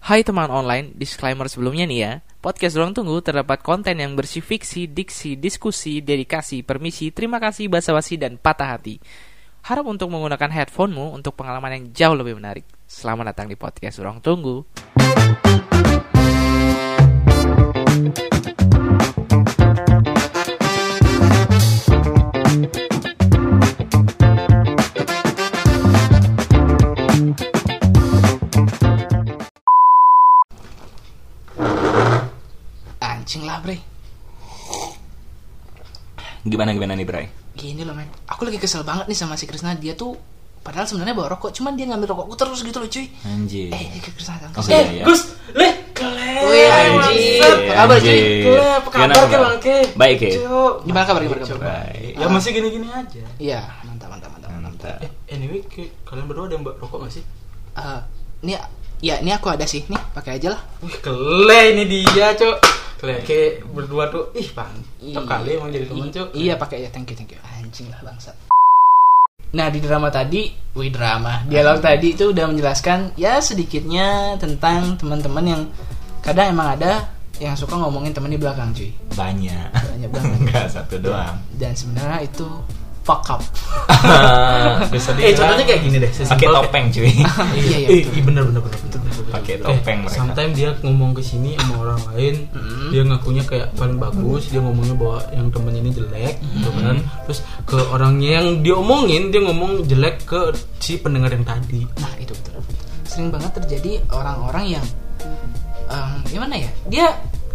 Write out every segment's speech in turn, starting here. Hai teman online, disclaimer sebelumnya nih ya. Podcast Ruang Tunggu terdapat konten yang bersih fiksi, diksi, diskusi, dedikasi, permisi, terima kasih, basa-basi, dan patah hati. Harap untuk menggunakan headphonemu untuk pengalaman yang jauh lebih menarik. Selamat datang di Podcast Ruang Tunggu. Anjing lah bre, Gimana gimana nih Bray? gini loh men. Aku lagi kesel banget nih sama si Krisna, dia tuh padahal sebenarnya bawa rokok, cuman dia ngambil rokokku terus gitu loh cuy. Anjir. Eh, Krisna, Oke, eh, iya, iya. Gus, leh, keleh. eh, Wih, Anjir, Apa kabar, Ji? anjir. Keleh, apa Gimana, kabar ke kabar? Bang Ke? Baik, Ki. Cuk. Gimana kabar, gimana kabar? Baik. Nah, Ya masih gini-gini aja. Iya, mantap, mantap, mantap. mantap. Mantap. Eh, anyway, Ki, kalian berdua ada mbak rokok gak sih? Eh, ini ya ini aku ada sih nih pakai aja lah Wih, keleh ini dia, Cuk. Keleh Ki, berdua tuh ih, mantap Iya. kali emang jadi teman, I- Cuk. iya pakai ya thank you thank you anjing lah bangsat nah di drama tadi wih drama dialog tadi itu udah menjelaskan ya sedikitnya tentang teman-teman yang kadang emang ada yang suka ngomongin temen di belakang cuy Banyak. Iya. Banyak banget. Enggak satu doang. dan sebenarnya itu fuck up Bisa Eh, contohnya kayak gini deh. pakai sesimpel topeng cuy. iya kayak- iya Eh, betul. iya bener bener bener bener, bener. Pakai Eh, topeng mereka. Sometimes dia ngomong ke sini sama orang lain, dia ngakunya kayak paling bagus, dia ngomongnya bahwa yang temen ini jelek, gitu kan. Terus ke orangnya yang diomongin, dia ngomong jelek ke si pendengar yang tadi. Nah itu betul. Sering banget terjadi orang-orang yang em, gimana ya? Dia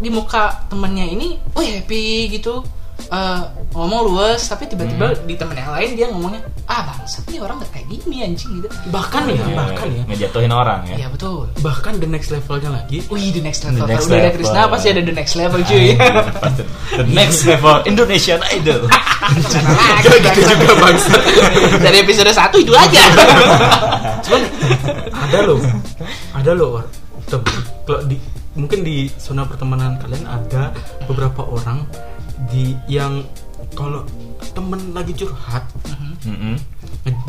di muka temennya ini, oh happy gitu, eh, ngomong luas, tapi tiba-tiba Hmm. di temen yang lain dia ngomongnya, ah bangsat nih orang nggak kayak gini anjing gitu. Bahkan ya, Iya, bahkan ya, Ngejatuhin orang ya. Iya betul. bahkan the next levelnya lagi. Wih the next level. The next Kalau udah ada level. Krisna pasti ada the next level cuy. The next level Iya. Indonesian Idol. Iya, Kayak gitu juga bangsa. Dari episode 1 itu aja. Cuman Ada loh, ada loh. Or- tem- Kalau di mungkin di zona pertemanan kalian ada beberapa orang di yang kalau temen lagi curhat Mm-mm.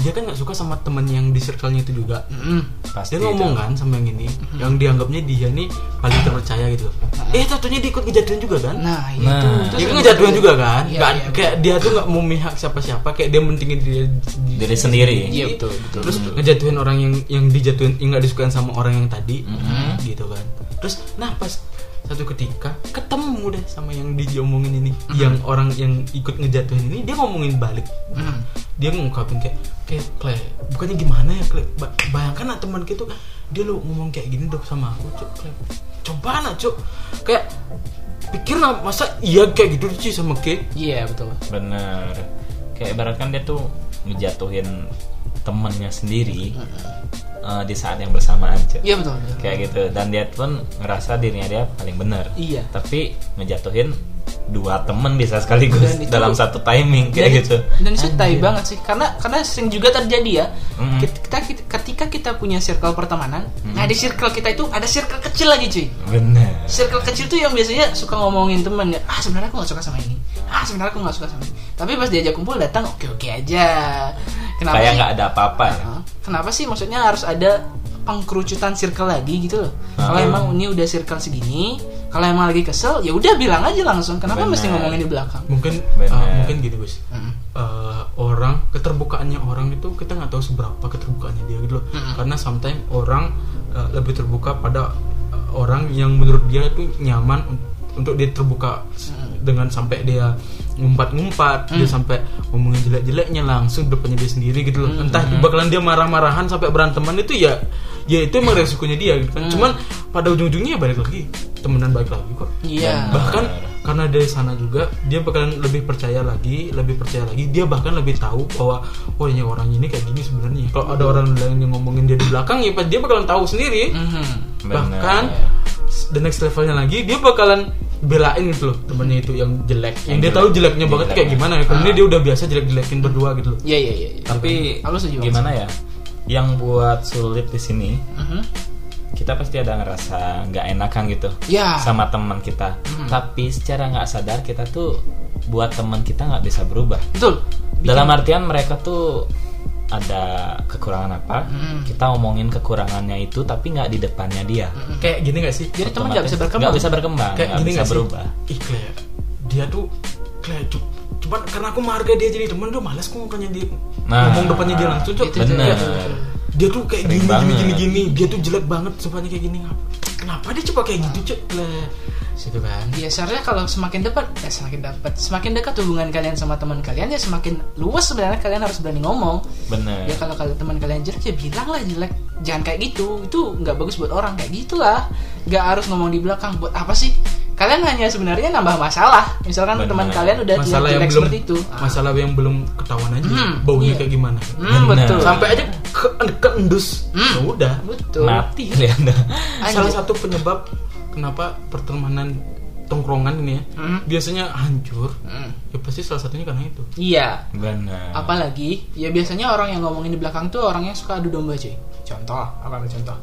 dia kan nggak suka sama temen yang di circle-nya itu juga mm, Pasti. dia ngomong itu. kan sama yang ini yang dianggapnya dia nih paling terpercaya gitu eh tentunya diikut kejadian juga kan nah itu. Nah. Terus dia kan yang ngejatuhin kedua- juga kan Iya, Nggak- iya, betul. kayak dia tuh nggak mau memihak siapa-siapa kayak dia mentingin diri Diri sendiri. Iya betul betul. terus ngejatuhin orang yang yang dijatuhin yang nggak disukain sama orang yang tadi Mm-hmm. Mhm. gitu kan terus nah pas satu ketika ketemu deh sama yang diomongin ini Mm-hmm. yang orang yang ikut ngejatuhin ini dia ngomongin balik Mm. dia ngungkapin kayak kayak Kle, bukannya gimana ya Kle Ba- bayangkan lah teman gitu dia lo ngomong kayak gini dong sama aku cuk Kle coba lah cuk kayak pikir lah masa iya kayak gitu sih sama Ke Iya betul. Bener. Kayak ibaratkan dia tuh ngejatuhin temennya sendiri eh, di saat yang bersamaan cuy. Iya betul. betul. kayak gitu dan dia pun ngerasa dirinya dia paling benar Iya. tapi ngejatuhin dua temen bisa sekaligus Dan itu- dalam satu timing kayak dan, gitu Dan itu tai banget sih, karena karena sering juga terjadi ya. Mm-mm. Ket- Kita, kita- ketika kita punya circle pertemanan, Mm-hmm. nah di circle kita itu ada circle kecil lagi cuy. bener Circle kecil tuh yang biasanya suka ngomongin teman ya, ah sebenarnya aku nggak suka sama ini, ah sebenarnya aku nggak suka sama ini. Tapi pas diajak kumpul datang oke oke aja. Kenapa kayak sih? nggak ada apa-apa ya. Hah? Kenapa sih maksudnya harus ada pengkerucutan circle lagi gitu loh. Kalau Hmm. emang ini udah circle segini, kalau emang lagi kesel ya udah bilang aja langsung. Kenapa Benar. mesti ngomongin di belakang? mungkin Bener. uh, mungkin gini Gus Mm-mm. Eh, orang keterbukaannya orang itu kita nggak tahu seberapa keterbukaannya dia gitu loh karena sometimes orang eh, lebih terbuka pada eh, orang yang menurut dia itu nyaman un- untuk dia terbuka s- dengan sampai dia ngumpat-ngumpat dia sampai ngomongin jelek-jeleknya langsung depannya dia sendiri gitu loh entah bakalan dia marah-marahan sampai beranteman itu ya ya itu emang resikonya dia gitu kan cuman pada ujung-ujungnya ya balik lagi temenan balik lagi kok Iya. bahkan karena dari sana juga dia bakalan lebih percaya lagi lebih percaya lagi dia bahkan lebih tahu bahwa oh ini orang ini kayak gini sebenarnya kalau ada orang lain yang ngomongin dia di belakang ya dia bakalan tahu sendiri Mhm. Bener. bahkan the next levelnya lagi dia bakalan belain gitu loh temennya itu yang jelek yang, dia jelek. tahu jeleknya banget Jelek. kayak gimana ya karena dia udah biasa jelek-jelekin berdua gitu loh Iya iya iya. iya. tapi Aku setuju banget. gimana ya yang buat sulit di sini Mhm. kita pasti ada ngerasa nggak enakan gitu Ya. Hmm. sama teman kita tapi secara nggak sadar kita tuh buat teman kita nggak bisa berubah Betul. dalam artian mereka tuh ada kekurangan apa Mm. kita omongin kekurangannya itu tapi nggak di depannya dia kayak gini gak sih Hmm. Jadi teman nggak bisa Otomatis berkembang. nggak bisa berkembang kayak nggak gini bisa gak berubah sih ih Clay, dia tuh Clay, cu- cuman karena aku menghargai dia jadi teman tuh malas aku ngomongnya dia Nah, ngomong depannya dia langsung tuh itu, itu, bener. itu, itu. dia tuh kayak Sering gini, gini banget. gini gini dia tuh jelek banget sopannya kayak gini kenapa dia coba kayak gitu cek situ kan ya seharusnya kalau semakin dekat eh, semakin dapat semakin dekat hubungan kalian sama teman kalian ya semakin luas sebenarnya kalian harus berani ngomong bener ya kalau kalau teman kalian jelek ya bilanglah jelek jangan kayak gitu itu nggak bagus buat orang kayak gitulah nggak harus ngomong di belakang buat apa sih kalian hanya sebenarnya nambah masalah misalkan Benar. teman kalian udah masalah yang jelek belum seperti itu Ah, masalah yang belum ketahuan aja Hmm, baunya iya. kayak gimana hmm, Benar. betul sampai aja ke keendus Hmm. ya udah betul mati kali anda Anjir. salah satu penyebab kenapa pertemanan tongkrongan ini ya Hmm. biasanya hancur Hmm. ya pasti salah satunya karena itu iya bener Apalagi ya biasanya orang yang ngomongin di belakang tuh orangnya suka adu domba cuy. Contoh, apa ambil contoh?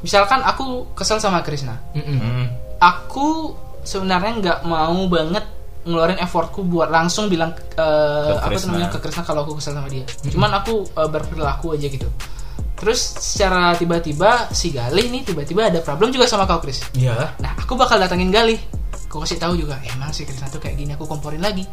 Misalkan aku kesel sama Krisna. Mm. Aku sebenarnya nggak mau banget ngeluarin effortku buat langsung bilang eh, apa Krisna. namanya ke Krisna kalau aku kesel sama dia. Cuman aku eh, berperilaku aja gitu. Terus secara tiba-tiba si Galih nih tiba-tiba ada problem juga sama kau Kris. Iya. Nah, aku bakal datangin Galih. Aku kasih tahu juga, emang si Krisna tuh kayak gini aku komporin lagi.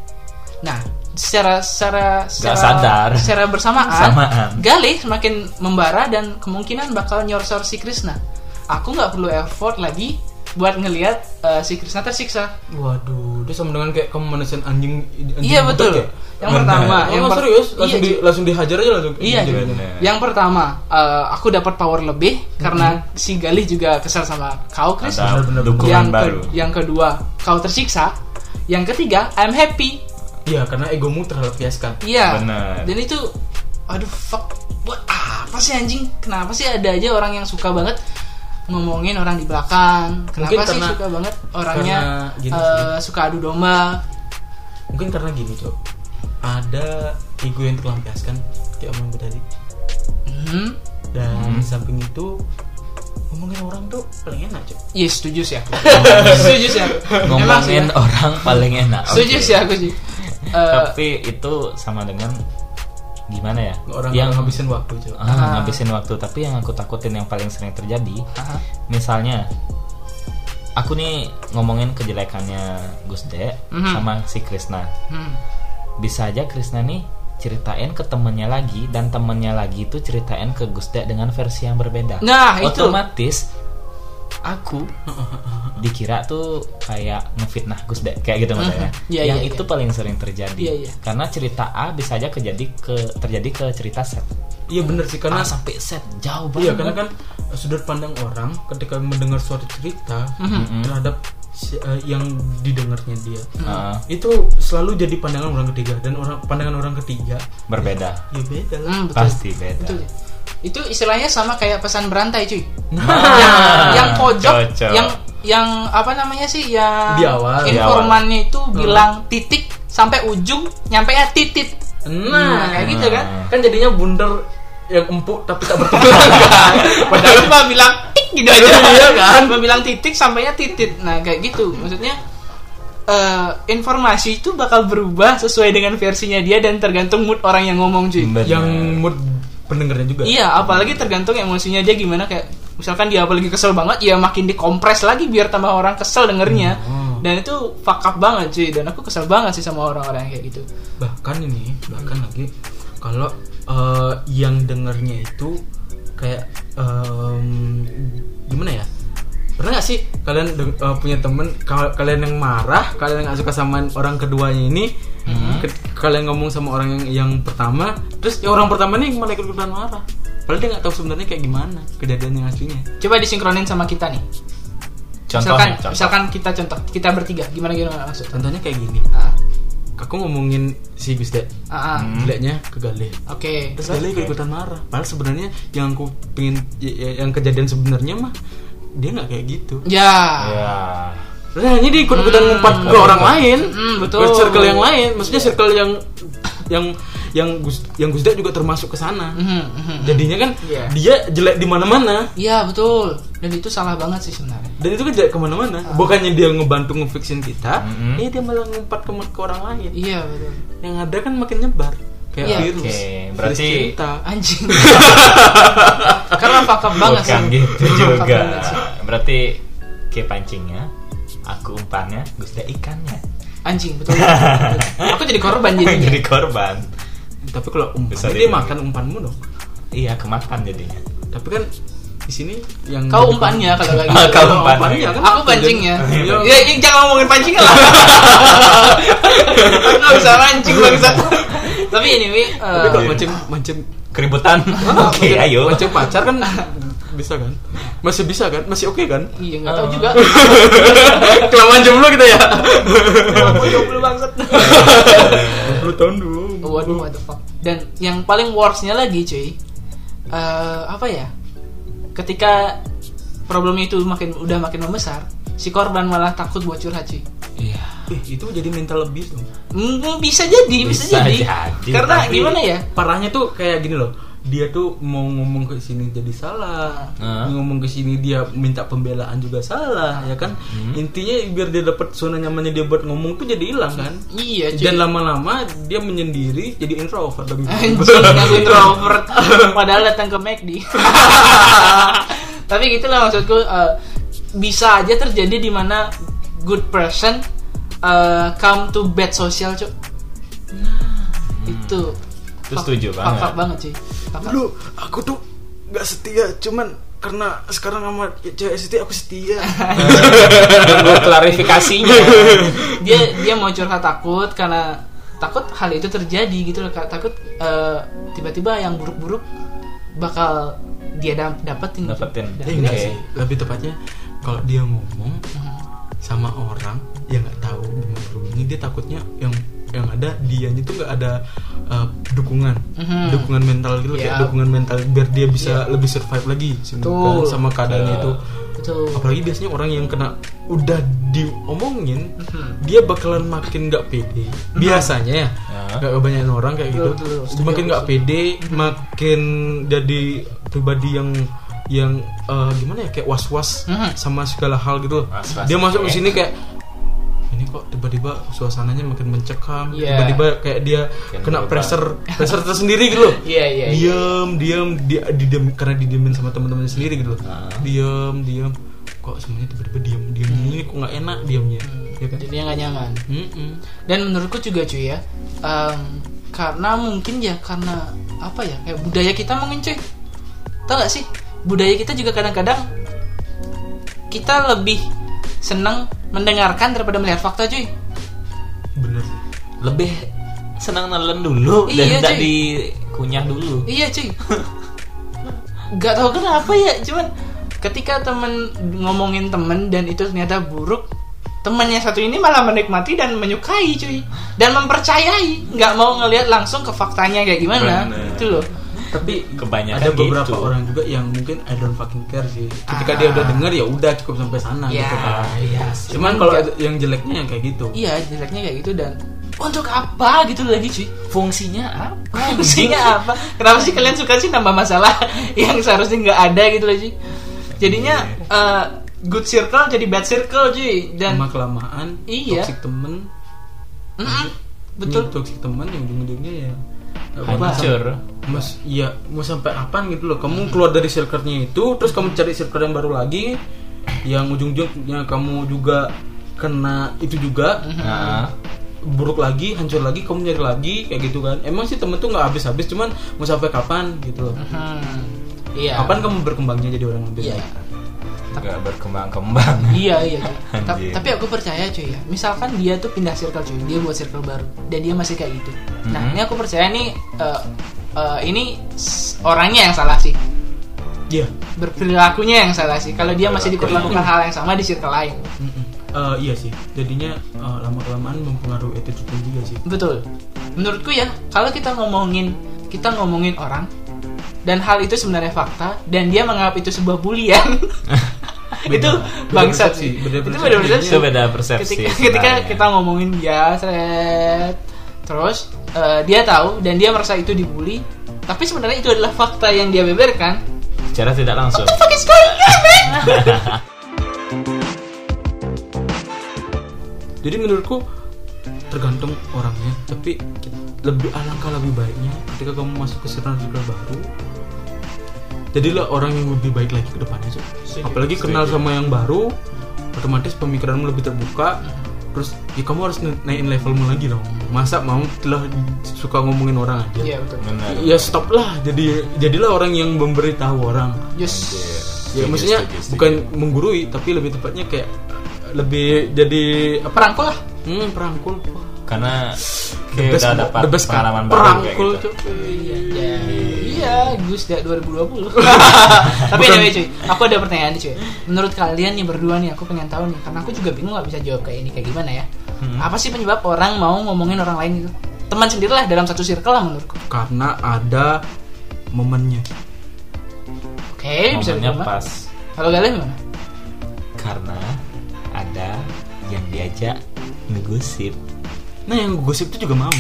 Nah, secara secara secara, sadar. secara bersamaan, Bersamaan. Galih semakin membara dan kemungkinan bakal nyorsor si Krisna. Aku nggak perlu effort lagi buat ngelihat eh, si Krisna tersiksa. Waduh, dia sama dengan kayak kamu manusian anjing, anjing iya butet betul. ya? Yang Benar. pertama, Oh, yang per- serius? iya, Langsung, cuy. di, langsung dihajar aja langsung. Iya, Dihajar Jun. aja. Bener. Yang pertama, eh, aku dapat power lebih karena si Galih juga kesal sama kau, Chris. Mhm. ada bener-bener. dukungan Yang, ke- baru yang kedua, kau tersiksa. Yang ketiga, I'm happy. Iya, karena egomu terlalu biaskan. Iya. Bener. Dan itu, aduh fuck, buat apa sih anjing? Kenapa sih ada aja orang yang suka banget ngomongin orang di belakang? Kenapa Mungkin sih karena- suka banget orangnya karena gini eh, suka adu domba? Mungkin karena gini, Cok. Ada ego yang terlampiaskan kayak omong gue tadi. Hmm, Dan Hmm. di samping itu ngomongin orang tuh paling enak, Cok. iya setuju sih aku. setuju sih aku. Emang sih, ngomongin ya. orang paling enak setuju oke. sih aku sih. Eh, tapi itu sama dengan gimana ya Orang yang yang ngabisin waktu, Cok. Ah, ngabisin waktu tapi yang aku takutin yang paling sering terjadi aha. misalnya aku nih ngomongin kejelekannya Gus De Mhm. sama si Krisna Hmm. bisa aja Krisna nih ceritain ke temennya lagi dan temennya lagi itu ceritain ke Gus De dengan versi yang berbeda Nah, itu. otomatis aku dikira tuh kayak ngefitnah Gus De kayak gitu maksudnya Mhm. Iya, yang iya, itu paling sering terjadi Iya, iya. karena cerita A bisa aja kejadi ke terjadi ke cerita Z Iya bener sih karena karena Ah. sampai set jauh banget iya karena kan eh, sudut pandang orang ketika mendengar suatu cerita Mm-hmm. terhadap si- eh, yang didengarnya dia. Hmm. Heeh, Itu selalu jadi pandangan orang ketiga dan orang pandangan orang ketiga berbeda ya beda lah. Hmm, betul. pasti beda Betul. Itu istilahnya sama kayak pesan berantai cuy. Nah, yang, yang pojok, cocok. yang yang apa namanya sih yang Di awal. informannya itu bilang titik sampai ujung nyampe ya titik. Nah, kayak gitu kan. kan jadinya bundar yang empuk tapi tak bertemu Padahal cuma bilang tik gitu aja kan. Cuma bilang titik sampainya titik. Nah, kayak gitu. Maksudnya eh, informasi itu bakal berubah sesuai dengan versinya dia dan tergantung mood orang yang ngomong cuy. Bener. yang mood pendengarnya juga Iya, apalagi tergantung emosinya dia gimana kayak misalkan dia apalagi kesel banget, ya makin dikompres lagi biar tambah orang kesel dengernya. Hmm. Dan itu fuck up banget cuy dan aku kesel banget sih sama orang-orang yang kayak gitu. bahkan ini bahkan lagi kalau eh, yang dengarnya itu kayak em, gimana ya pernah nggak sih kalian deng- eh, punya temen kal- kalian yang marah kalian yang nggak suka sama orang keduanya ini ke- kalian ngomong sama orang yang, yang pertama terus ya orang pertama nih malah ikut ikutan marah padahal dia nggak tahu sebenarnya kayak gimana kejadian yang aslinya Coba disinkronin sama kita nih. misalkan contohnya contoh. misalkan kita contoh, kita bertiga gimana gimana maksud. contohnya kayak gini Ah, aku ngomongin si Gusde ah, ah. Hmm. jeleknya ke Galih Oke. terus Galih ikut ikutan marah padahal sebenarnya yang aku pengen y- y- yang kejadian sebenarnya mah dia nggak kayak gitu Ya. ya terus akhirnya dia ikut ikutan ngumpat ke orang lain Hmm, betul. Iya. ke circle yang lain maksudnya circle yang yang yang Gus yang Gusde juga termasuk ke sana Mhm, mhm. jadinya kan Iya. dia jelek di mana mana Iya, betul. Dan itu salah banget sih sebenarnya. dan itu kan jelek kemana-mana Ah. bukannya dia ngebantu ngefiksin kita Hmm. Mm-mm. eh dia malah ngumpat ke, ke orang lain Iya, betul. yang ada kan makin nyebar kayak Iya. virus. Oke, Virus berarti- cinta. Ah, anjing karena fakap banget sih Bukan gitu Fuck up juga. banget sih. Berarti ke pancingnya, aku umpannya, Gusta ikannya. anjing betul aku jadi korban Kan jadinya jadi korban. Tapi kalau umpan Bisa dia dibilang. makan umpanmu dong. Iya, kemakan jadinya. Tapi kan di sini yang kau umpannya kalau nggak gitu Ah, kau Kalau umpannya. umpannya kan aku pancingnya Iya. ya, ya, jangan ngomongin pancingnya lah Aku nggak bisa mancing bangsa tapi anyway Tapi eh, kalau mancing mancing Keributan. Oh, Oke, mancing- ayo. Mancing pacar kan bisa kan? Masih bisa kan? Masih oke kan? iya nggak tahu juga Kelamaan jomblo kita ya. aku jomblo bangsat 20 tahun dulu. waduh what the fuck dan yang paling worstnya lagi cuy eh, apa ya ketika problemnya itu makin udah makin membesar si korban malah takut buat curhat cuy Iya. Eh, itu jadi mental abuse dong. Hmm, bisa jadi bisa, Bisa jadi. jadi, karena tapi- gimana ya Eh, Parahnya tuh kayak gini loh. Dia tuh mau ngomong ke sini jadi salah, Heeh. ngomong ke sini dia minta pembelaan juga salah, ya kan? Intinya biar dia dapat zona nyamannya dia buat ngomong tuh jadi hilang kan? iya cuy Dan lama-lama dia menyendiri jadi introvert lebih. Anjing, aku introvert. Padahal datang ke McD. Tapi gitulah maksudku eh, bisa aja terjadi di mana good person eh, come to bad social, cuk. Itu. Hmm. Itu setuju Fuck- banget. fuck up banget, cuy. Fuck up. Dulu aku tuh nggak setia, cuman karena sekarang sama cewek setia aku setia. Tunggu klarifikasinya. Dia dia mau curhat takut karena takut hal itu terjadi gitu loh. Kak. Takut eh, tiba-tiba yang buruk-buruk bakal dia dap- dapetin. gitu. Dapetin. Eh, Dapetin. enggak Oke. sih. Lebih tepatnya kalau dia ngomong sama orang yang nggak tahu gimana hubungannya, dia takutnya yang yang ada dianya tuh nggak ada uh, dukungan, Mhm. dukungan mental gitu kayak Iya. dukungan mental biar dia bisa lebih survive lagi sebenarnya Betul. Iya. sama keadaannya itu. Betul. Apalagi biasanya orang yang kena udah diomongin, Mhm. dia bakalan makin nggak pede. Biasanya ya, Ya. nggak kebanyakan orang kayak gitu. Betul, betul. Setuju, makin nggak pede, makin jadi pribadi yang yang eh, gimana ya kayak was-was Mhm. sama segala hal gitu. Was-was. Dia masuk ke Oke. sini kayak ini kok tiba-tiba suasananya makin mencekam, Iya. tiba-tiba kayak dia Makin kena berubah. pressure pressure tersendiri gitu loh. Iya, iya, iya. Diam, diam, dia didiem karena didiemin sama teman-temannya sendiri gitu loh. Ah. Diam, diam. Kok semuanya tiba-tiba diam, diam Hmm. ini kok nggak enak diamnya. Ya kan? Jadinya nggak nyaman. Mm-mm. dan menurutku juga cuy ya em, karena mungkin ya karena apa ya kayak budaya kita mungkin cuy tau gak sih budaya kita juga kadang-kadang kita lebih seneng mendengarkan daripada melihat fakta cuy Bener sih. Lebih senang nelen dulu Iya, dan tidak cuy. dikunyah dulu. iya cuy nggak tahu kenapa ya cuman ketika temen ngomongin temen dan itu ternyata buruk temennya satu ini malah menikmati dan menyukai cuy dan mempercayai nggak mau ngelihat langsung ke faktanya kayak gimana Bener. itu loh tapi Kebanyakan ada beberapa gitu. orang juga yang mungkin I don't fucking care sih ketika dia udah denger ya udah cukup sampai sana Ya, gitu kan Ah. iya sih. cuman kalau ada- yang jeleknya yang kayak gitu iya jeleknya kayak gitu dan untuk apa gitu lagi cuy Fungsinya apa? fungsinya apa kenapa sih kalian suka sih nambah masalah yang seharusnya nggak ada gitu loh cuy jadinya eh, good circle jadi bad circle cuy dan sama kelamaan Iya. toxic temen Mm-mm, betul ini toxic temen yang ujung-ujungnya ya nggak bakal- Hancur. Mas, iya mau sampai apa gitu loh. Kamu keluar dari circle-nya itu, terus kamu cari circle yang baru lagi, yang ujung-ujungnya kamu juga kena itu juga, Nah, buruk lagi, hancur lagi, kamu nyari lagi kayak gitu kan. Emang sih temen tuh nggak habis-habis, cuman mau sampai kapan gitu loh. Hmm, iya Kapan kamu berkembangnya jadi orang lebih iya baik? nggak berkembang-kembang. iya iya cuy. Ta- Anjing. tapi aku percaya cuy ya misalkan dia tuh pindah circle cuy dia buat circle baru dan dia masih kayak gitu nah Mhm. ini aku percaya nih eh, eh, ini s- orangnya yang salah sih Iya. berperilakunya yang salah sih kalau dia masih diperlakukan hal yang sama di circle lain Mm-mm. Eh, iya sih. Jadinya eh, lama kelamaan mempengaruhi attitude juga sih. betul menurutku ya kalau kita ngomongin kita ngomongin orang dan hal itu sebenarnya fakta dan dia menganggap itu sebuah bulian itu Beda bangsat persepsi, sih beda itu persepsi. beda persepsi Iya, Itu beda persepsi. ketika, ketika sebenarnya. kita ngomongin dia seret, terus eh, dia tahu dan dia merasa itu dibully tapi sebenarnya itu adalah fakta yang dia beberkan secara tidak langsung. fucking going on, man? Jadi menurutku tergantung orangnya, tapi kita- lebih alangkah lebih baiknya ketika kamu masuk ke circle baru jadilah orang yang lebih baik lagi ke depannya Cuk. apalagi kenal sama yang baru otomatis pemikiranmu lebih terbuka Mm-hmm. terus ya kamu harus na- naikin levelmu lagi dong masa mau telah suka ngomongin orang aja Iya betul. Benar. ya stop lah jadi jadilah orang yang memberitahu orang Yes. ya maksudnya bukan menggurui tapi lebih tepatnya kayak eh, lebih jadi apa Perangkul lah. hmm, perangkul karena kayak best, udah dapat the best, kan? pengalaman baru kayak perangkul gitu. Cuk. iya Ya, iya, Gus dah 2020. Tapi Bukan. anyway cuy, aku ada pertanyaan nih cuy. Menurut kalian nih berdua nih, aku pengen tahu nih, karena aku juga bingung nggak bisa jawab kayak ini kayak gimana ya. Hmm. Apa sih penyebab orang mau ngomongin orang lain gitu? Teman sendirilah dalam satu circle lah menurutku. karena ada momennya Oke, Eh, bisa momennya diterima. pas Kalau kalian gimana? karena ada yang diajak ngegosip nah yang gosip itu juga mau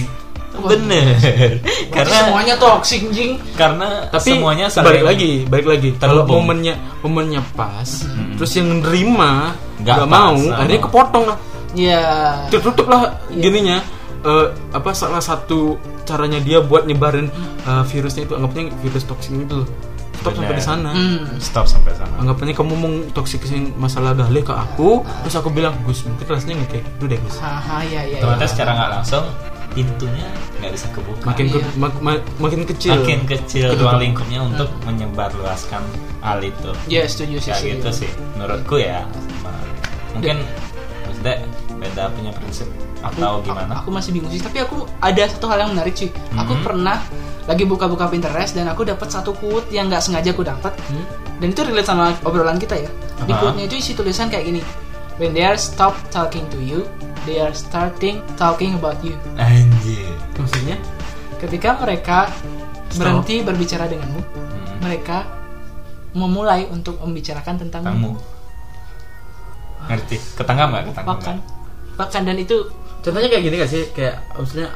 bener Berarti karena semuanya toxic jing. karena tapi semuanya balik lagi balik lagi kalau terhubung. momennya momennya pas terus yang nerima Nggak nggak pas, mau nggak akhirnya mau. kepotong lah Ya. tertutup lah gininya Eh, apa salah satu caranya dia buat nyebarin eh, virusnya itu anggapnya virus toksin itu loh stop sampai Bener. di sana Hmm. stop sampai sana anggapannya kamu mau toksikisin masalah galih ke aku terus aku bilang Gus mungkin rasanya nggak kayak gitu deh Gus Haha, ya ya. ternyata ya. secara nggak langsung pintunya nggak bisa kebuka makin ke- Iya. mak- ma- makin kecil makin kecil Ketutup. ruang lingkupnya untuk menyebarluaskan hal itu Ya, Hmm. setuju sih. ya setuju. gitu sih menurutku ya Ma- mungkin maksudnya beda punya prinsip atau gimana Iya. aku masih bingung sih tapi aku ada satu hal yang menarik sih aku Mhm. pernah lagi buka-buka Pinterest dan aku dapat satu quote yang nggak sengaja aku dapat Hmm? dan itu relate sama obrolan kita ya di Aha. quote-nya itu isi tulisan kayak gini when they are stop talking to you they are starting talking about you anjir maksudnya ketika mereka Stop. berhenti berbicara denganmu Hmm. mereka memulai untuk membicarakan tentangmu tamu ngerti ketanggap nggak ketanggap bahkan nggak bahkan dan itu contohnya kayak gini gak sih kayak maksudnya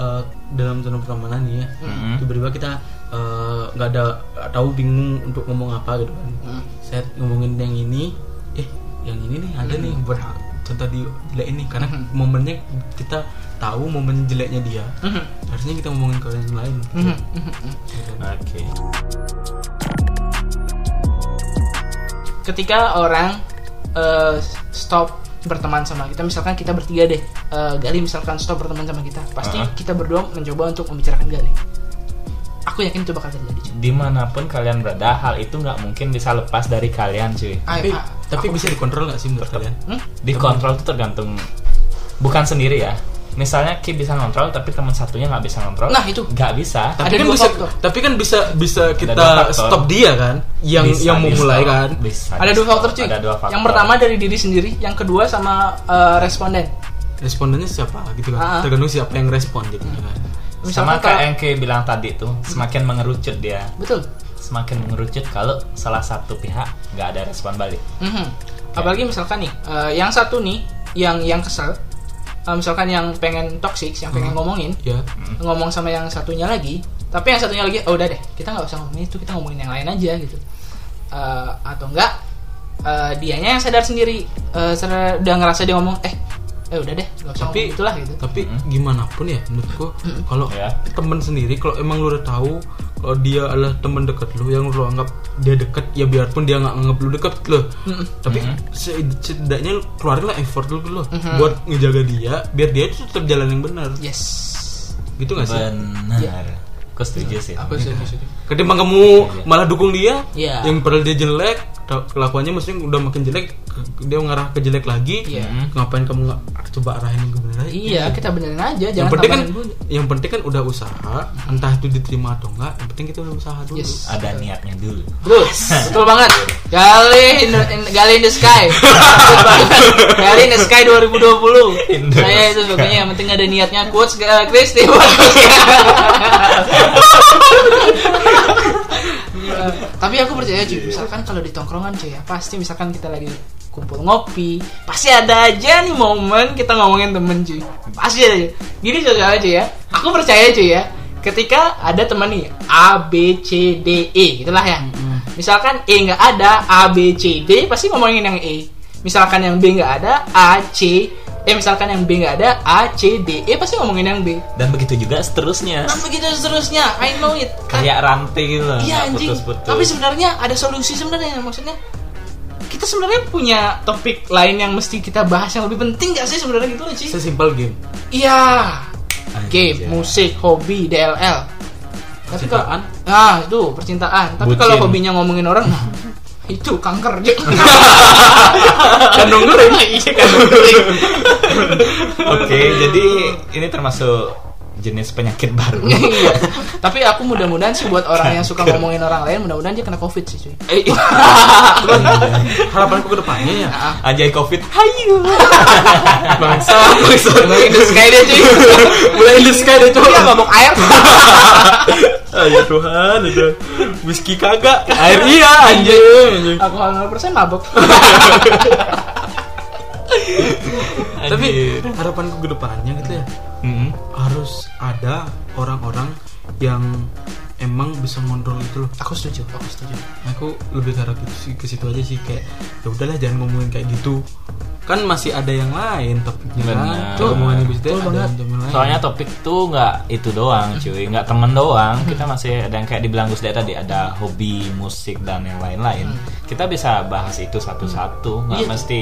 eh, dalam zona pertemanan nih ya Mm-mm. tiba-tiba kita eh, nggak ada nggak tahu bingung untuk ngomong apa gitu kan Mm. saya ngomongin yang ini eh yang ini nih ada nih buat contoh di jelek ini karena momennya kita tahu momen jeleknya dia Mhm, harusnya kita ngomongin ke yang lain mhm, mhm, mhm. Gitu. oke ketika orang eh, stop berteman sama kita misalkan kita bertiga deh eh, Gali misalkan stop berteman sama kita pasti Uh-huh. kita berdua mencoba untuk membicarakan Gali aku yakin itu bakal terjadi cuy dimanapun kalian berada hal itu nggak mungkin bisa lepas dari kalian cuy Ay, tapi ah, tapi bisa dikontrol nggak sih menurut kalian hmm? dikontrol tuh tergantung bukan sendiri ya misalnya Ki bisa ngontrol tapi teman satunya nggak bisa ngontrol Nah, itu. nggak bisa tapi Ada kan dua bisa faktor. tapi kan bisa bisa dua kita faktor. stop dia kan yang Bisa yang mau di-stop. mulai kan Bisa ada dua di-stop. faktor cuy Ada dua faktor. yang pertama dari diri sendiri yang kedua sama eh, responden respondennya siapa gitu kan Ah. Hmm. tergantung siapa yang respon jadinya kan sama misalkan kayak kalau- yang Ki bilang tadi tuh semakin mengerucut dia betul semakin mengerucut kalau salah satu pihak nggak ada respon balik Mhm. Apalagi misalkan nih, eh, yang satu nih, yang yang kesel, eh, misalkan yang pengen toxic, yang Mhm. pengen ngomongin, ya ngomong sama yang satunya lagi, tapi yang satunya lagi, oh udah deh, kita nggak usah ngomongin itu, kita ngomongin yang lain aja gitu. Eh, atau enggak, eh, dianya yang sadar sendiri, eh, sadar- udah ngerasa dia ngomong, eh, eh udah deh, nggak usah Tapi- ngomong itulah gitu. tapi gimana pun ya menurutku Hmm. kalau Hmm. Ya. temen sendiri kalau emang lu udah tahu kalau dia adalah temen deket lu yang lu anggap dia deket ya biarpun dia nggak anggap lu deket lo Hmm. tapi Hmm. se- setidaknya lu keluarin lah effort lu dulu Hmm. buat ngejaga dia biar dia itu tetap jalan yang benar Yes. gitu nggak sih benar Iya. aku setuju sih Aku setuju, setuju. ketimbang kamu malah dukung dia Iya. yang padahal dia jelek ta- kelakuannya maksudnya udah makin jelek ke- dia ngarah ke jelek lagi Hmm. Iya. ngapain kamu nggak coba arahin yang kebenaran Iya, kita benerin aja, yang jangan penting kan tambahin bunyi. yang penting kan udah usaha entah itu diterima atau enggak yang penting kita udah usaha dulu Yes. ada niatnya dulu Betul, betul banget. Gali in, the- in- Gali in the sky. Betul banget. Gali in the sky 2020. In the Saya itu sky. pokoknya yang penting ada niatnya quotes uh, Kristi. bagus. Eh, Tapi aku percaya cuy, misalkan kalau di tongkrongan cuy ya, pasti misalkan kita lagi kumpul ngopi, pasti ada aja nih momen kita ngomongin temen cuy. Pasti ada. cuy. Gini soalnya cuy ya, aku percaya cuy ya, ketika ada teman nih A B C D E gitulah ya. Misalkan E nggak ada A B C D pasti ngomongin yang E. Misalkan yang B nggak ada A C eh misalkan yang B nggak ada A C D E pasti ngomongin yang B dan begitu juga seterusnya dan begitu seterusnya I know it Kan- kayak rantai gitu loh, nggak Nah, Iya anjing. putus-putus. Tapi sebenarnya ada solusi sebenarnya maksudnya kita sebenarnya punya topik lain yang mesti kita bahas yang lebih penting gak sih sebenarnya gitu loh Ci? Sesimpel game. Iya. Game, Anjay. musik, hobi, DLL. Tapi kalau Percintaan. ah itu percintaan. Tapi Bucin. kalau hobinya ngomongin orang nah, itu kanker. Kandung kering. Iya kandung kering. Oke, jadi ini termasuk jenis penyakit baru. Iya. Tapi aku mudah-mudahan sih buat orang yang suka ngomongin orang lain mudah-mudahan dia kena covid sih cuy. Eh, iya. Ah. Harapanku ke depannya ya. Anjay COVID. Ah. Bangsa. Emang itu sekali dia cuy. Mulai in the sky deh Eh, Dia coba. mabok air. Ya Tuhan, aja. Whisky kagak. Air iya anjing. anjing. Aku 0% mabok. Tapi Anjir. Iya. harapanku ke depannya gitu ya. Mm-mm. Harus ada orang-orang yang emang bisa ngontrol itu loh. aku setuju, aku setuju. aku lebih ke arah ke si- ke situ aja sih kayak ya udahlah jangan ngomongin kayak gitu kan masih ada yang lain topiknya kan Benar. Kalau ngomongin ke situ Betul ada banget. yang jamin lain Soalnya topik tuh nggak itu doang, cuy. Nggak temen Hmm. doang. Kita masih ada yang kayak dibilang Gus Dea tadi ada hobi, musik dan yang lain-lain. Kita bisa bahas itu satu-satu, nggak Hmm. Iya. mesti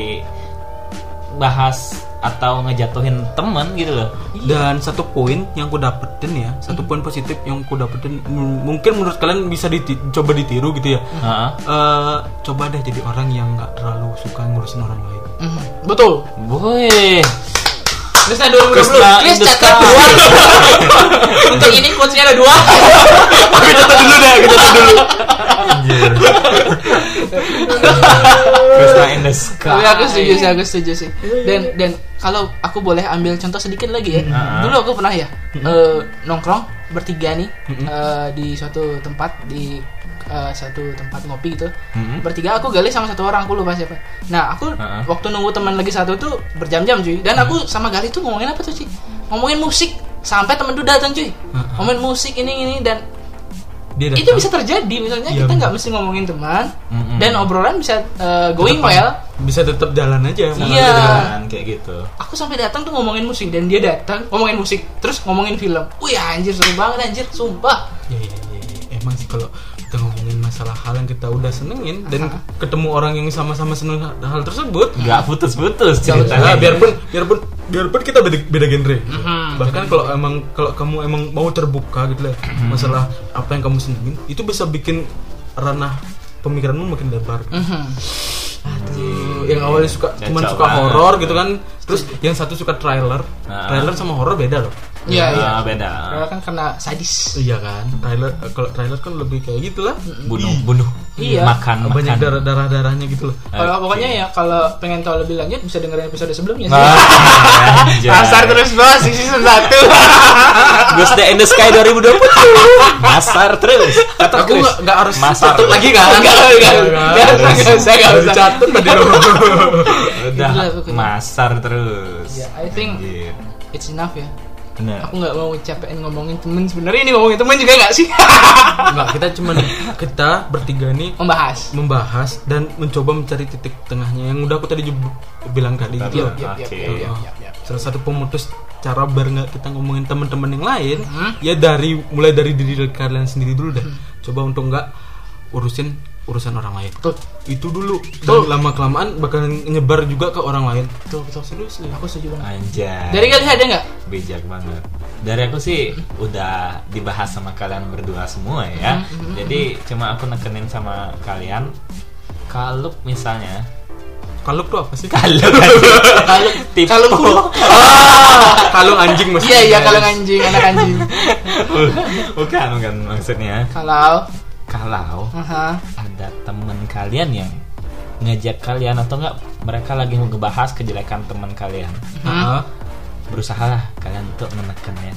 bahas atau ngejatuhin temen gitu loh. dan satu poin yang aku dapetin ya satu Hmm. poin positif yang aku dapetin m- mungkin menurut kalian bisa diti- coba ditiru gitu ya Hmm. Heeh. Eh, coba deh jadi orang yang nggak terlalu suka ngurusin orang lain Mhm, Betul. Boy. Krisna 2020. Krisna in Kris the catat sky. dua. Untuk ini quotes-nya ada dua. kita catat dulu deh kita catat dulu Krisna in the sky. Tapi Iya, aku setuju sih, aku setuju sih. Dan dan kalau aku boleh ambil contoh sedikit lagi ya. Mhm. Dulu aku pernah ya eh, nongkrong bertiga nih eh, di suatu tempat di eh, satu tempat ngopi gitu. Mhm. Bertiga aku Gali sama satu orang aku lupa siapa. Nah, aku Heeh. waktu nunggu teman lagi satu tuh berjam-jam cuy. Dan aku sama Gali tuh ngomongin apa tuh, Ci? Ngomongin musik sampai temen tuh datang cuy. Ngomongin musik ini ini dan dia itu bisa terjadi misalnya kita Iya, bener. nggak mesti ngomongin teman Mm-mm. dan obrolan bisa eh, going Tetep- well. bisa tetap jalan aja Iya. Malah ada jalan. Kan, kayak gitu. aku sampai datang tuh ngomongin musik dan dia datang ngomongin musik terus ngomongin film wih anjir seru banget anjir sumpah Ya, ya, ya, ya. Emang sih kalau kita ngomongin masalah hal yang kita udah senengin dan ketemu orang yang sama-sama seneng hal, hal tersebut, Nggak putus-putus ya ceritanya. biarpun biarpun biarpun kita beda, beda genre. Bahkan kalau emang kalau kamu emang mau terbuka gitu lah masalah apa yang kamu senengin, itu bisa bikin ranah pemikiranmu makin lebar. Mhm. Tuh, yang awalnya suka Kacau cuman suka banget. horor gitu kan, terus yang satu suka trailer. Nah. Trailer sama horor beda loh. iya iya Ah, beda. Karena kan kena sadis Iya kan? Trailer kalau trailer kan lebih kayak gitulah. Bunuh, bunuh. Iya. Makan, makan. banyak Eh. darah darah darahnya gitu loh kalau Oke. pokoknya ya kalau pengen tahu lebih lanjut bisa dengerin episode sebelumnya sih Ah, anjay. Pasar terus bos di season 1 Ghost Day in the Sky 2020 Masar terus Kata aku Chris. nggak nggak harus Masar catat lagi kan Nggak, nggak, nggak usah, nggak usah, nggak usah. catat tadi loh Udah Itulah pokoknya. Masar terus Ya, I think- Anjir. it's enough ya Bener aku nggak mau capein ngomongin temen sebenarnya ini ngomongin temen juga nggak sih nggak kita cuman kita bertiga nih membahas membahas dan mencoba mencari titik tengahnya yang udah aku tadi juga bilang tadi gitu loh. Iya, iya, Oke. iya, iya, iya, iya. salah satu pemutus cara biar nggak kita ngomongin teman-teman yang lain Hmm? ya dari mulai dari diri kalian sendiri dulu deh coba untuk nggak urusin urusan orang lain betul itu dulu dan lama kelamaan bakalan nyebar juga ke orang lain betul betul serius aku setuju banget Anjay dari kalian ada nggak Bijak banget Dari aku sih Udah dibahas sama kalian berdua semua ya Mm-hmm, Jadi cuma aku nekenin sama kalian Kalau misalnya kalau tuh apa sih Kalau Kalau Tipe kalau buruk kalau anjing iya maksudnya iya kalau anjing anak anjing Bukan bukan maksudnya kalau Kalau aha ada temen kalian yang ngajak kalian atau enggak mereka lagi ngebahas kejelekan teman kalian Ah, berusahalah kalian untuk menekannya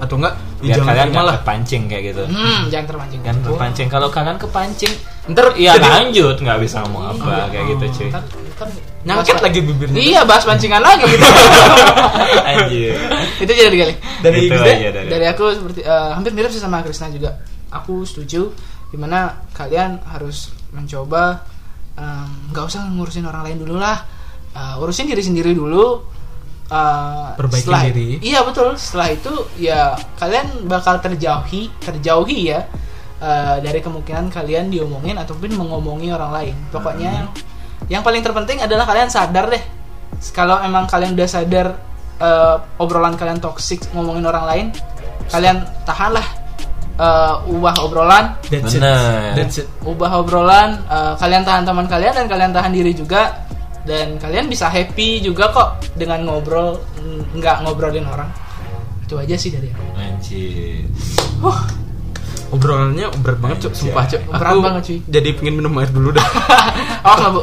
atau enggak biar ya jangan kalian terima nggak lah kepancing kayak gitu Hmm, jangan terpancing. kan kepancing kalau kalian kepancing ntar ya iya, jadi Iya. Oh. lanjut nggak bisa mau apa kayak gitu cuy Ntar- ntar nyangket bahas- lagi bibirnya Iya, bahas pancingan lagi gitu. anjir Itu jadi kali. dari Itu gitu aja dari, Dari aku seperti eh, hampir mirip sih sama Krisna juga. Aku setuju dimana kalian harus mencoba Eh, em, nggak usah ngurusin orang lain dulu lah. Eh, urusin diri sendiri dulu. eh, Perbaiki setelah- diri. Iya betul. Setelah itu ya kalian bakal terjauhi, terjauhi ya eh, dari kemungkinan kalian diomongin ataupun mengomongi orang lain. Pokoknya yang, yang paling terpenting adalah kalian sadar deh. Kalau emang kalian udah sadar eh, obrolan kalian toksik ngomongin orang lain, kalian tahanlah eh, ubah obrolan That's it. Bener. That's it. ubah obrolan eh, kalian tahan teman kalian dan kalian tahan diri juga dan kalian bisa happy juga kok dengan ngobrol n- nggak ngobrolin orang itu aja sih dari aku Anjir. Obrolannya berat banget, Cuk. Sumpah, Cuk. Berat Aku banget, cuy. Jadi pengen minum air dulu dah. oh nggak bu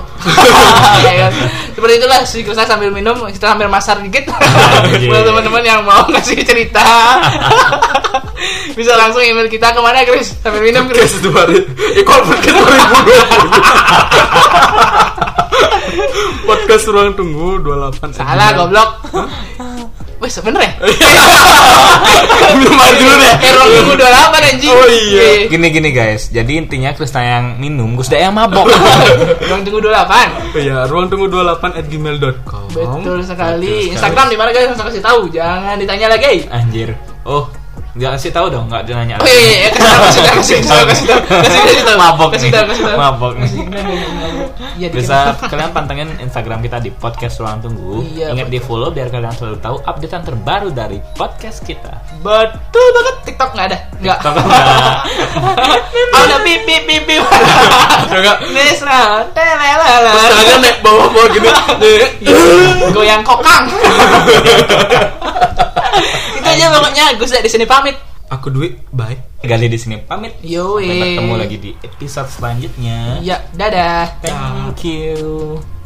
Ya kan? seperti itulah sih kita sambil minum kita sambil masar dikit buat teman-teman yang mau ngasih cerita bisa langsung email kita kemana Chris sambil minum Chris Podcast dua hari. Eh, kok podcast 2020? podcast ruang tunggu 28. salah goblok Wes bener ya? Minum air dulu Oh, iya. deh. Eh, ruang tunggu 28 anjing. Oh, iya. Eh, Gini gini guys, jadi intinya Krisna yang minum, Gusda yang mabok. Ruang tunggu 28. Iya, ruang tunggu 28 at gmail.com. Oh, Betul sekali. sekali. Instagram di mana guys? Langsung kasih tahu. Jangan ditanya lagi. Anjir. Oh, nggak kasih tahu dong, nggak ada nanya. Oh iya, iya, iya, kasih tahu, kasih tahu, kasih tahu, kasih tahu, kasih tahu, Mabok kasih nih. tahu, kasih tahu. Mabok nih. Iya, dikit. Bisa kalian pantengin Instagram kita di podcast ruang tunggu. Iya, Ingat di follow biar kalian selalu tahu updatean terbaru dari podcast kita. Betul banget. TikTok nggak ada, nggak. Kalau nggak, Oh, ada pip pip pip pip. Coba Nesra, telalala. tangan naik bawah-bawah gitu. gini. Goyang kokang. Itu aja pokoknya Gus dari sini pamit. Aku duit, bye. gali di sini pamit. Yo, Iya. Sampai ketemu lagi di episode selanjutnya. Ya, dadah. Thank you.